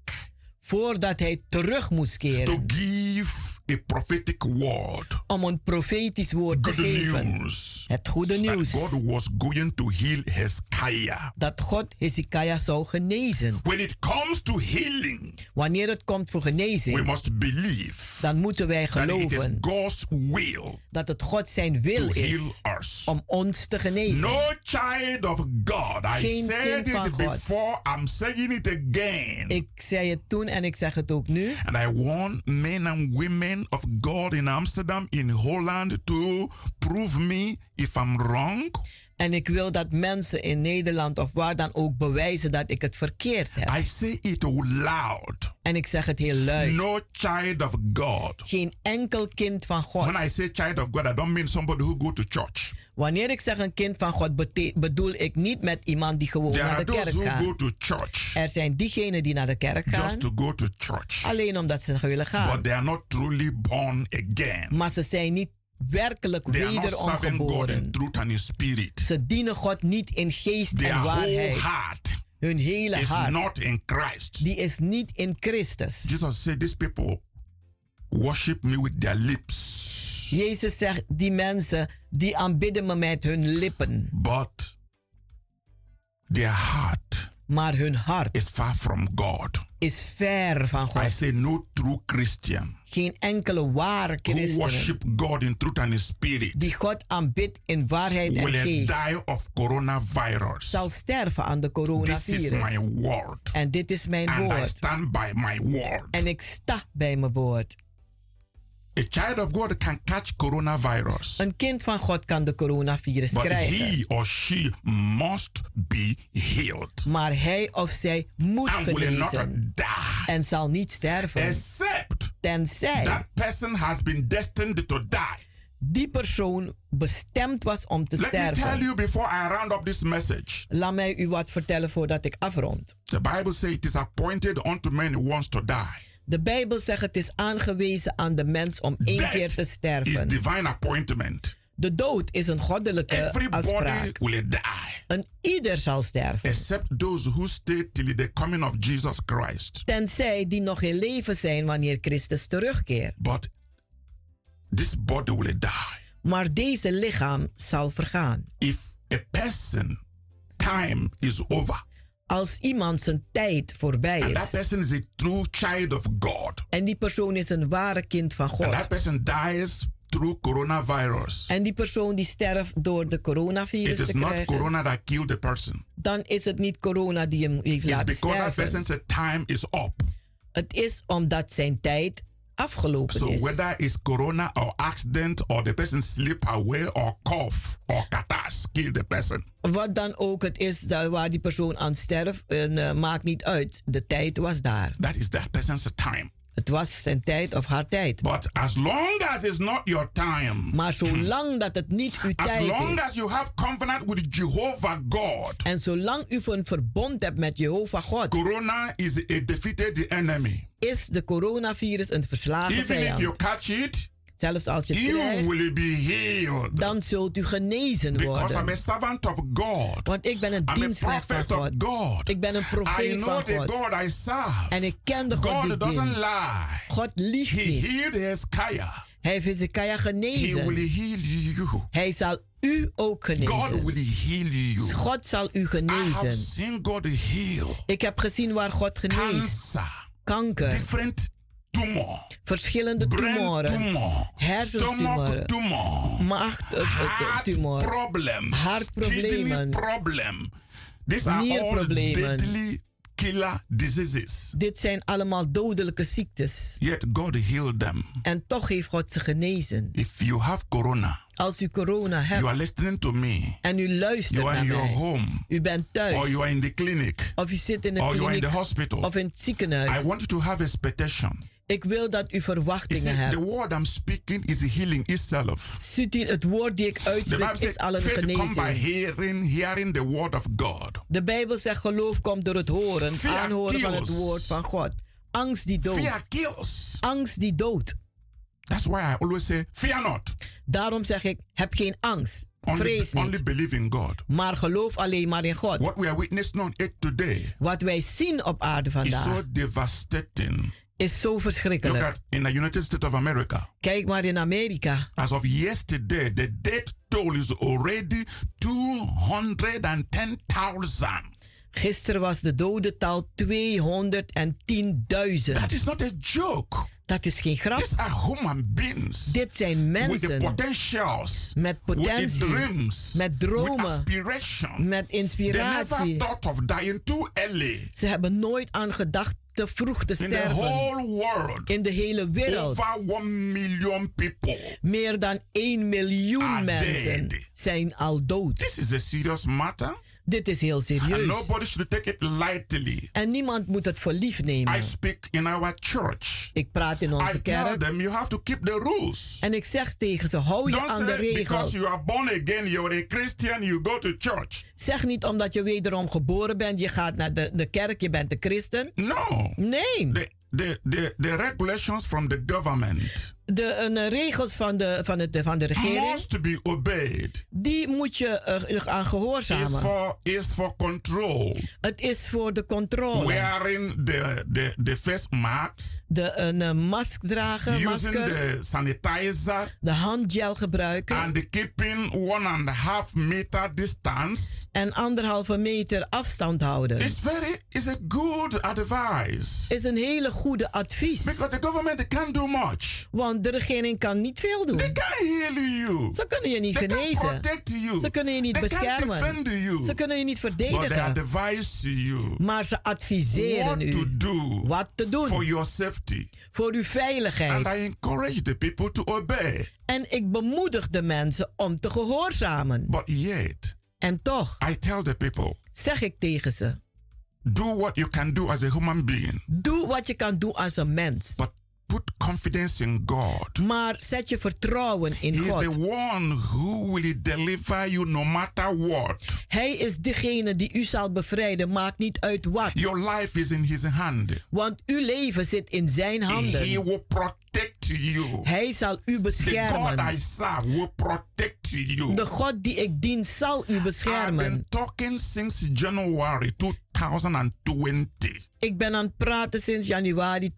F: voordat hij terug moest
K: to
F: keren
K: give a prophetic word.
F: om een profetisch woord te
K: Good
F: geven.
K: news.
F: Het goede
K: That
F: nieuws
K: God was going to heal Hezekiah.
F: dat God Hezekiah zou genezen.
K: When it comes to healing,
F: Wanneer het komt voor
K: we
F: genezing,
K: must believe
F: dan moeten wij
K: that it is
F: geloven
K: God's will
F: dat het God zijn wil
K: to heal
F: is
K: us.
F: om ons te genezen.
K: No child of God. I
F: Geen
K: said
F: kind van
K: it
F: God.
K: before, I'm saying it again.
F: Ik zei het toen en ik zeg het ook nu.
K: And I want men and women of God in Amsterdam, in Holland, to prove me if I'm wrong.
F: En ik wil dat mensen in Nederland of waar dan ook bewijzen dat ik het verkeerd heb.
K: I say it loud.
F: En ik zeg het heel luid.
K: No child of God.
F: Geen enkel kind van God.
K: When I say child of God, I don't mean somebody who go to church.
F: Wanneer ik zeg een kind van God, bete- bedoel ik niet met iemand die gewoon
K: There
F: naar
K: are
F: de
K: those
F: kerk
K: who go
F: gaat.
K: to church
F: Er zijn diegenen die naar de kerk gaan,
K: just to go to church,
F: alleen omdat ze willen gaan.
K: but they are not truly born again.
F: Maar ze zijn niet werkelijk
K: They are not
F: wederom
K: serving God in
F: geboren.
K: truth and in spirit.
F: Ze dienen God niet in geest
K: Their
F: en
K: whole
F: waarheid.
K: heart
F: Hun hele
K: is
F: hart,
K: not in Christ.
F: die is niet in Christus.
K: Jesus said, These people worship me with their lips,
F: Jezus zegt, die mensen, die aanbidden me met hun lippen,
K: but their heart
F: maar hun hart
K: is far from God.
F: is ver van
K: I
F: God.
K: say, no true Christian
F: Geen enkele ware
K: who
F: christen
K: worship God in truth and in spirit
F: die God aanbidt in waarheid en
K: will
F: geest
K: die of coronavirus.
F: zal sterven aan de
K: This is my
F: coronavirus.
K: word,
F: En dit is mijn
K: and I
F: woord.
K: stand by my word.
F: En ik sta bij mijn woord.
K: A child of God can catch coronavirus,
F: Een kind van God kan de coronavirus
K: but
F: krijgen.
K: he or she must be healed
F: Maar hij of zij moet
K: and will
F: genezen.
K: not die.
F: En zal niet sterven.
K: except
F: Tenzij
K: that person has been destined to die.
F: die persoon bestemd was om te
K: Let me tell
F: sterven.
K: you before I round up this message.
F: Laat mij u wat vertellen voordat ik afrond.
K: The Bible says it is appointed unto men who wants to die.
F: De Bijbel zegt het is aangewezen aan de mens om één
K: Death
F: keer te
K: is
F: sterven.
K: divine appointment.
F: De dood is een goddelijke
K: Everybody
F: afspraak.
K: will die
F: Een ieder zal sterven.
K: except those who stay till the coming of Jesus Christ.
F: Tenzij die nog in leven zijn wanneer Christus terugkeert.
K: But this body will die.
F: Maar deze lichaam zal vergaan.
K: If a person time is over
F: Als iemand zijn tijd voorbij
K: and that
F: is.
K: person is a true child of God
F: En die persoon is een ware kind van
K: and that
F: God.
K: person dies through coronavirus
F: En die persoon die sterft door de
K: It
F: coronavirus te
K: is not
F: krijgen.
K: corona that killed the person.
F: Dan is het niet corona die hem heeft
K: It's
F: laten
K: because that
F: sterven.
K: person's time is up.
F: Het is omdat zijn tijd afgelopen
K: So
F: is.
K: whether it's corona or accident or the person slip away or cough or catarrh kill the person.
F: Wat dan ook het is da- waar die persoon aan sterft, en, eh, maakt niet uit. De tijd was daar.
K: That is that person's time.
F: Het was zijn tijd of haar tijd.
K: But as long as it's not your time,
F: Maar zolang dat het niet uw
K: Hmm. as long
F: tijd
K: as
F: is.
K: you have covenant with Jehovah God,
F: En zolang u een verbond hebt met Jehovah God,
K: corona is a defeated enemy.
F: is de coronavirus een verslagen
K: Even if you
F: vijand.
K: catch it,
F: Zelfs als je
K: you
F: krijgt,
K: will be healed.
F: dan zult u genezen
K: Because I'm a
F: worden.
K: servant of God.
F: Want ik ben een
K: I'm a
F: dienstknecht van
K: prophet of
F: God.
K: God.
F: Ik ben een
K: I
F: profeet
K: know
F: van
K: the
F: oh God.
K: God I serve.
F: En ik ken de God die
K: God doesn't
F: dient.
K: lie.
F: God liegt
K: He
F: niet.
K: healed Hezekiah.
F: Hij heeft Hezekiah
K: He will
F: genezen.
K: heal you.
F: Hij zal u ook
K: God will
F: genezen.
K: heal you.
F: God zal u
K: I have
F: genezen.
K: seen God heal
F: Ik heb gezien waar God geneest.
K: cancer,
F: Kanker,
K: different tumor,
F: verschillende
K: brain
F: tumoren,
K: tumor,
F: hersenstumoren,
K: stomach tumor,
F: eh,
K: heart
F: maagtumor,
K: problem, kidney
F: hartproblemen,
K: problem. These are all
F: Nierproblemen.
K: deadly killer diseases.
F: Dit zijn allemaal dodelijke ziektes.
K: Yet God healed them.
F: En toch heeft God ze genezen.
K: If you have corona,
F: Als u corona
K: you are
F: hebt
K: listening to me.
F: en u luistert
K: You are
F: naar
K: in your
F: mij.
K: home,
F: U bent
K: or
F: thuis.
K: you are in the clinic,
F: Of u zit in een
K: or you are in
F: kliniek
K: the hospital.
F: of in het
K: I
F: ziekenhuis.
K: want you to have expectation.
F: Ik wil dat u
K: You see,
F: verwachtingen
K: the
F: hebt.
K: word I'm speaking is healing itself.
F: Ziet u, het woord die ik
K: The
F: uitspreek
K: Bible says
F: is al een
K: faith comes by
F: genezing.
K: hearing, hearing the word of God.
F: De Bijbel zegt geloof komt door het horen,
K: Fear
F: aanhoren van het
K: kills.
F: woord van God. Angst die
K: Fear
F: doodt.
K: kills.
F: Angst die doodt.
K: That's why I always say, fear not.
F: Daarom zeg ik, heb geen angst.
K: Only,
F: Vrees
K: only
F: niet.
K: believe in God.
F: Maar geloof alleen maar in God.
K: What we are witnessing on it today
F: Wat wij zien op aarde
K: is so
F: vandaag
K: devastating.
F: is zo
K: Look
F: verschrikkelijk.
K: at in the United States of America.
F: Kijk maar in Amerika.
K: As of yesterday, the death toll is already 210,000.
F: Gisteren was de dodental 210.000.
K: That is not a joke.
F: Dat is geen grap.
K: These are human beings.
F: Dit zijn
K: with the
F: mensen
K: potentials,
F: Met
K: with
F: potentie,
K: the dreams,
F: met dromen,
K: with
F: met
K: aspiration. They never
F: inspiratie.
K: thought of dying too early.
F: Ze hebben nooit aan gedacht te vroeg te
K: In the
F: sterven.
K: whole world,
F: In de hele wereld.
K: over one million people.
F: Meer dan 1
K: Are
F: miljoen mensen
K: dead.
F: zijn al dood.
K: This is a serious matter,
F: Dit is heel
K: and
F: serieus.
K: nobody should take it lightly.
F: En niemand moet het voor lief
K: I
F: nemen.
K: speak in our church.
F: Ik praat in
K: I
F: onze
K: tell
F: kerk.
K: them you have to keep the rules.
F: En ik zeg tegen ze, hou je aan
K: Don't
F: de
K: say because
F: regels.
K: you are born again, you're a Christian, you go to church.
F: Zeg niet omdat je wederom geboren bent, je gaat naar de, de kerk, je bent een christen.
K: No.
F: Nee,
K: The, the, the, the regulations from the government
F: de een, eh, regels van de, van, het, van de regering,
K: must be obeyed.
F: die moet je eh, aan
K: is
F: gehoorzamen.
K: for is for control.
F: Het is voor de controle.
K: Wearing the the the face masks,
F: De, een eh, mask dragen,
K: using
F: masker,
K: the sanitizer,
F: de handgel gebruiken
K: and keeping one and a half meter distance.
F: en anderhalve meter afstand houden.
K: It's very it's a good advice
F: Is een hele goede advies.
K: because the government they can't do much.
F: Want de regering kan niet veel
K: They
F: doen.
K: can't heal Mm. you.
F: Ze kunnen je niet
K: They can't
F: genezen.
K: protect you.
F: Ze kunnen je niet
K: They can't defend
F: beschermen.
K: you.
F: Ze kunnen je niet
K: But they
F: verdedigen.
K: advise you
F: Maar ze
K: what
F: adviseren
K: to
F: u
K: do
F: wat te
K: for
F: doen
K: your safety.
F: voor uw
K: And I
F: veiligheid.
K: encourage the people to obey.
F: En ik bemoedig de mensen om te gehoorzamen.
K: But yet,
F: En toch
K: I tell the people,
F: zeg ik tegen ze:
K: do what you can do as a human being,
F: doe wat je kan doen als een mens.
K: but put confidence in God.
F: Maar zet je vertrouwen in
K: He is
F: God.
K: the one who will deliver you no matter what.
F: Hij is degene die u zal bevrijden, maakt niet uit wat.
K: Your life is in His hand.
F: Want uw leven zit in zijn
K: He
F: handen.
K: will protect you.
F: Hij zal u
K: The God I
F: beschermen.
K: serve will protect you.
F: De God die ik dien zal u
K: I've been
F: beschermen.
K: talking since January 2020.
F: Ik ben aan het praten sinds januari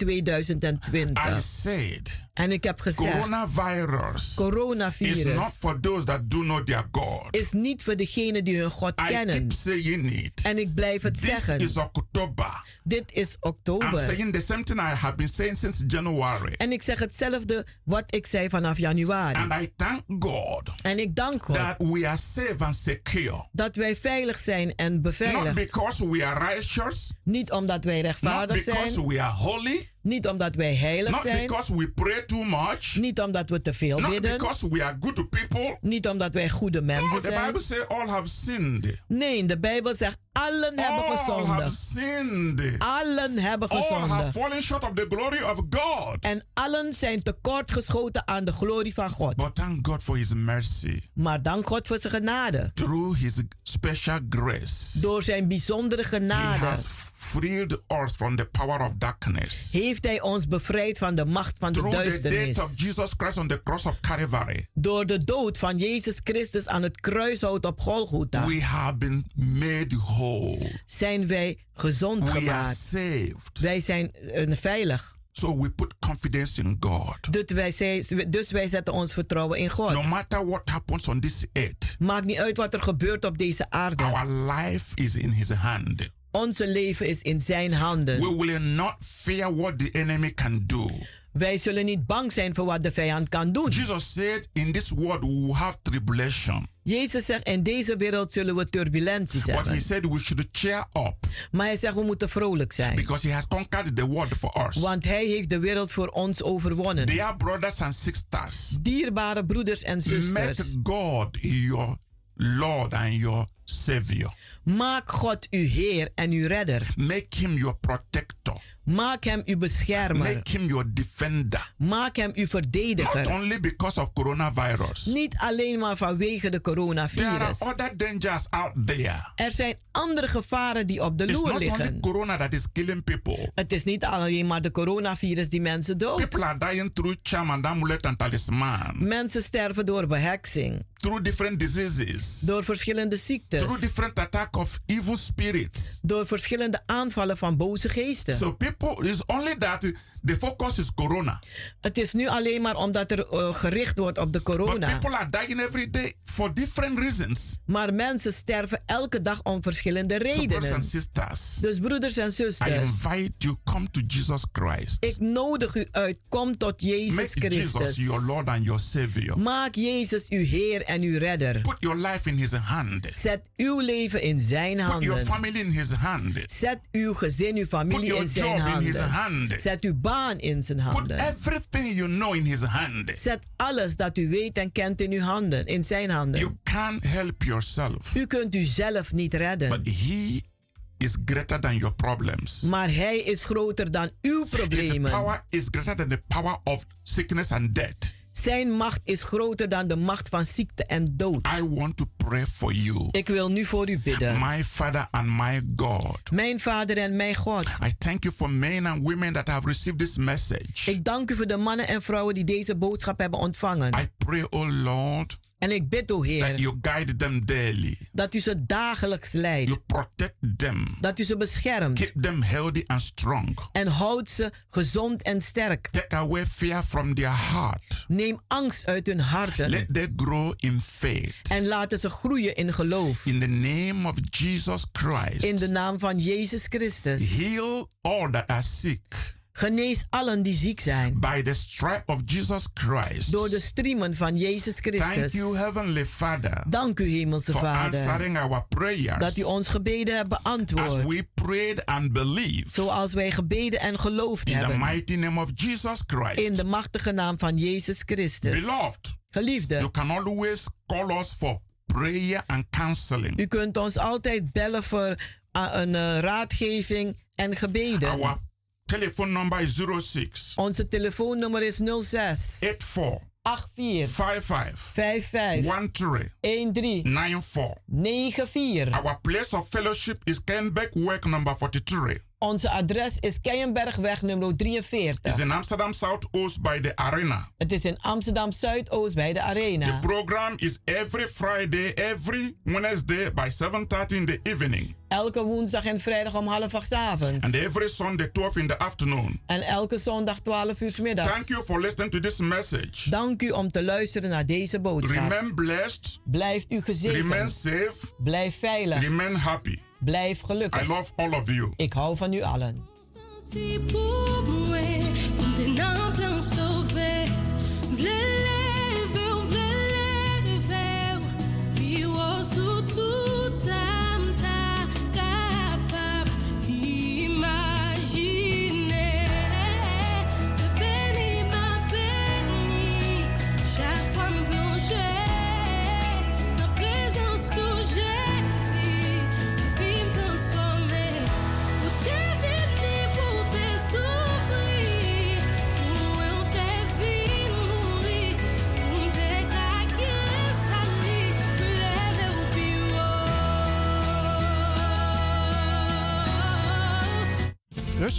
K: I
F: 2020.
K: said,
F: En ik heb gezegd.
K: coronavirus is not
F: Coronavirus
K: for those that do know their God.
F: is niet voor degenen die hun God
K: I
F: kennen.
K: keep saying it.
F: En ik blijf het
K: This
F: zeggen.
K: is October.
F: Dit is
K: I'm
F: oktober.
K: saying the same thing I have been saying since January.
F: En ik zeg hetzelfde wat ik zei vanaf januari.
K: And I thank God
F: En ik dank God
K: that we are safe and secure.
F: dat wij veilig zijn en
K: Not
F: beveiligd.
K: because we are righteous,
F: Niet omdat wij
K: not
F: rechtvaardig
K: because
F: zijn.
K: we are holy,
F: Niet omdat wij heilig
K: not
F: zijn.
K: because we pray too much,
F: Niet omdat we te veel
K: not
F: bidden.
K: because Oh, we are good people.
F: Niet omdat wij goede
K: No,
F: mensen
K: the
F: zijn.
K: Bible says all have sinned.
F: Nee, de Bijbel zegt allen hebben
K: Oh, All have
F: gezondigd.
K: sinned.
F: Allen hebben
K: All have
F: gezondigd.
K: fallen short of the glory of God.
F: En allen zijn tekortgeschoten aan de glorie van God.
K: But thank God for His mercy.
F: Maar dank God voor zijn genade.
K: Through His special grace,
F: Door zijn bijzondere
K: He
F: genade
K: has freed us from the power of darkness.
F: heeft hij ons bevrijd van de macht van de
K: Through the
F: duisternis.
K: death of Jesus Christ on the cross of Calvary,
F: Door de dood van Jezus Christus aan het kruishout op Golgotha
K: we have been made whole.
F: zijn wij gezond
K: We are
F: gemaakt.
K: saved.
F: Wij zijn eh, veilig.
K: So we put confidence in God.
F: Dus wij, zijn- dus wij zetten ons vertrouwen in God.
K: No matter what happens on this earth,
F: Maakt niet uit wat er gebeurt op deze aarde.
K: our life is in His hand.
F: Onze leven is in zijn
K: We
F: handen.
K: will not fear what the enemy can do.
F: Wij zullen niet bang zijn voor wat de vijand kan doen.
K: Jesus said, In this world we will have tribulation.
F: Jezus zegt, in deze wereld zullen we turbulenties
K: But He
F: hebben.
K: said we should cheer up
F: Maar hij zegt, we moeten vrolijk zijn.
K: because He has conquered the world for us.
F: Want hij heeft de wereld voor ons overwonnen.
K: Dear brothers and sisters,
F: Dierbare broeders en
K: make
F: zusters,
K: God your Lord and your Savior.
F: maak God uw Heer en uw Redder.
K: Make Him your protector.
F: Maak Hem uw beschermer.
K: Make Him your defender.
F: Maak Hem uw
K: Not
F: verdediger.
K: only because of coronavirus.
F: Niet alleen maar vanwege de
K: There are
F: coronavirus.
K: other dangers out there.
F: Er zijn andere gevaren die op de
K: It's
F: loer
K: not only
F: liggen.
K: corona that is killing people.
F: Het is niet alleen maar de coronavirus die mensen doodt.
K: People are dying through charm and amulet and talisman,
F: Mensen sterven door beheksing,
K: through different diseases,
F: door verschillende ziektes,
K: through different attack of evil spirits.
F: door verschillende aanvallen van boze geesten.
K: So people, it's only that the focus is corona,
F: Het is nu alleen maar omdat er eh, gericht wordt op de
K: but
F: corona.
K: people are dying every day for different reasons.
F: Maar mensen sterven elke dag om verschillende
K: So brothers
F: redenen.
K: and sisters,
F: Dus broeders en
K: I
F: zusters,
K: invite you come to Jesus Christ.
F: ik nodig u uit, kom tot Jezus
K: Make Jesus
F: Christus. Mm.
K: your Lord and your Savior.
F: Maak Jezus uw Heer en uw Redder.
K: Put your life in His hand.
F: Zet uw leven in zijn
K: Put your
F: handen.
K: family in His hand.
F: Zet uw gezin, uw
K: Put
F: familie
K: your
F: in zijn
K: job in His
F: handen.
K: hand.
F: Zet uw baan in zijn
K: Put
F: handen.
K: everything you know in his hand.
F: Zet alles dat u weet en kent in uw handen, in zijn handen.
K: You can't help yourself.
F: U kunt uzelf niet redden,
K: But he is greater than your problems.
F: maar hij is groter dan uw
K: His
F: problemen.
K: power is greater than the power of sickness and death.
F: Zijn macht is groter dan de macht van ziekte en dood.
K: I want to pray for you.
F: Ik wil nu voor u bidden.
K: My Father and my God.
F: Mijn Vader en mijn God,
K: I thank you for men and women that have received this message.
F: ik dank u voor de mannen en vrouwen die deze boodschap hebben ontvangen.
K: I pray, oh Lord,
F: En ik bid, o
K: that
F: Heer,
K: you guide them daily.
F: dat u ze dagelijks
K: You
F: leidt,
K: protect them.
F: dat u ze beschermt
K: Keep them healthy and strong.
F: en houdt ze gezond en sterk.
K: Take away fear from their heart.
F: Neem angst uit hun harten
K: Let them grow in faith.
F: en laten ze groeien in geloof.
K: In the name of Jesus Christ,
F: In de naam van Jezus Christus.
K: heal all that are sick
F: Genees allen die ziek zijn.
K: by the stripe of Jesus Christ.
F: Door de striemen van Jezus
K: Thank you,
F: Christus.
K: Heavenly Father,
F: Dank u, Hemelse
K: for
F: Vader.
K: answering our
F: Dat
K: prayers
F: u ons gebeden hebt
K: as
F: beantwoord.
K: we prayed and believed.
F: Zoals wij gebeden en geloofd
K: in the
F: hebben.
K: mighty name of Jesus Christ.
F: In de machtige naam van Jezus Christus.
K: Beloved, you
F: Geliefde,
K: can always call us for prayer and counseling.
F: u kunt ons altijd bellen voor ah, een eh, raadgeving en gebeden.
K: Our telephone number is 06
F: Onze telefoonnummer is 06
K: 84
F: 84
K: 55
F: 55
K: 13
F: 13
K: 94.
F: 94.
K: Our place of fellowship is Kenbeck Work number 43.
F: Onze adres is Keienbergweg nummer
K: It's
F: 43.
K: in Amsterdam South Oost by the arena.
F: Het is in Amsterdam Zuidoost bij de Arena.
K: The program is every Friday, every Wednesday by 7.30 in the evening.
F: Elke woensdag en vrijdag om half acht 's avonds.
K: And every Sunday, 12 in the afternoon.
F: En elke zondag 12 uur 's middags.
K: Thank you for listening to this message.
F: Dank u om te luisteren naar deze boodschap.
K: Remain blessed,
F: Blijft u
K: remain
F: gezegend.
K: safe,
F: Blijf veilig.
K: remain happy.
F: Blijf
K: I
F: gelukkig.
K: love all of you.
F: Ik hou van u allen.
B: Senti pour bouer, om de naam plan sauvé. Vle leven, vle leven. Wie was u tot samta capab imaginer. Se béni ma béni, chaque femme plongée. Dans présence où Jésus, la vie me transformée. Vous t'êtes venu pour te souffrir.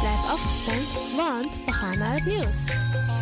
B: Blijf afgestemd, want we gaan naar het nieuws.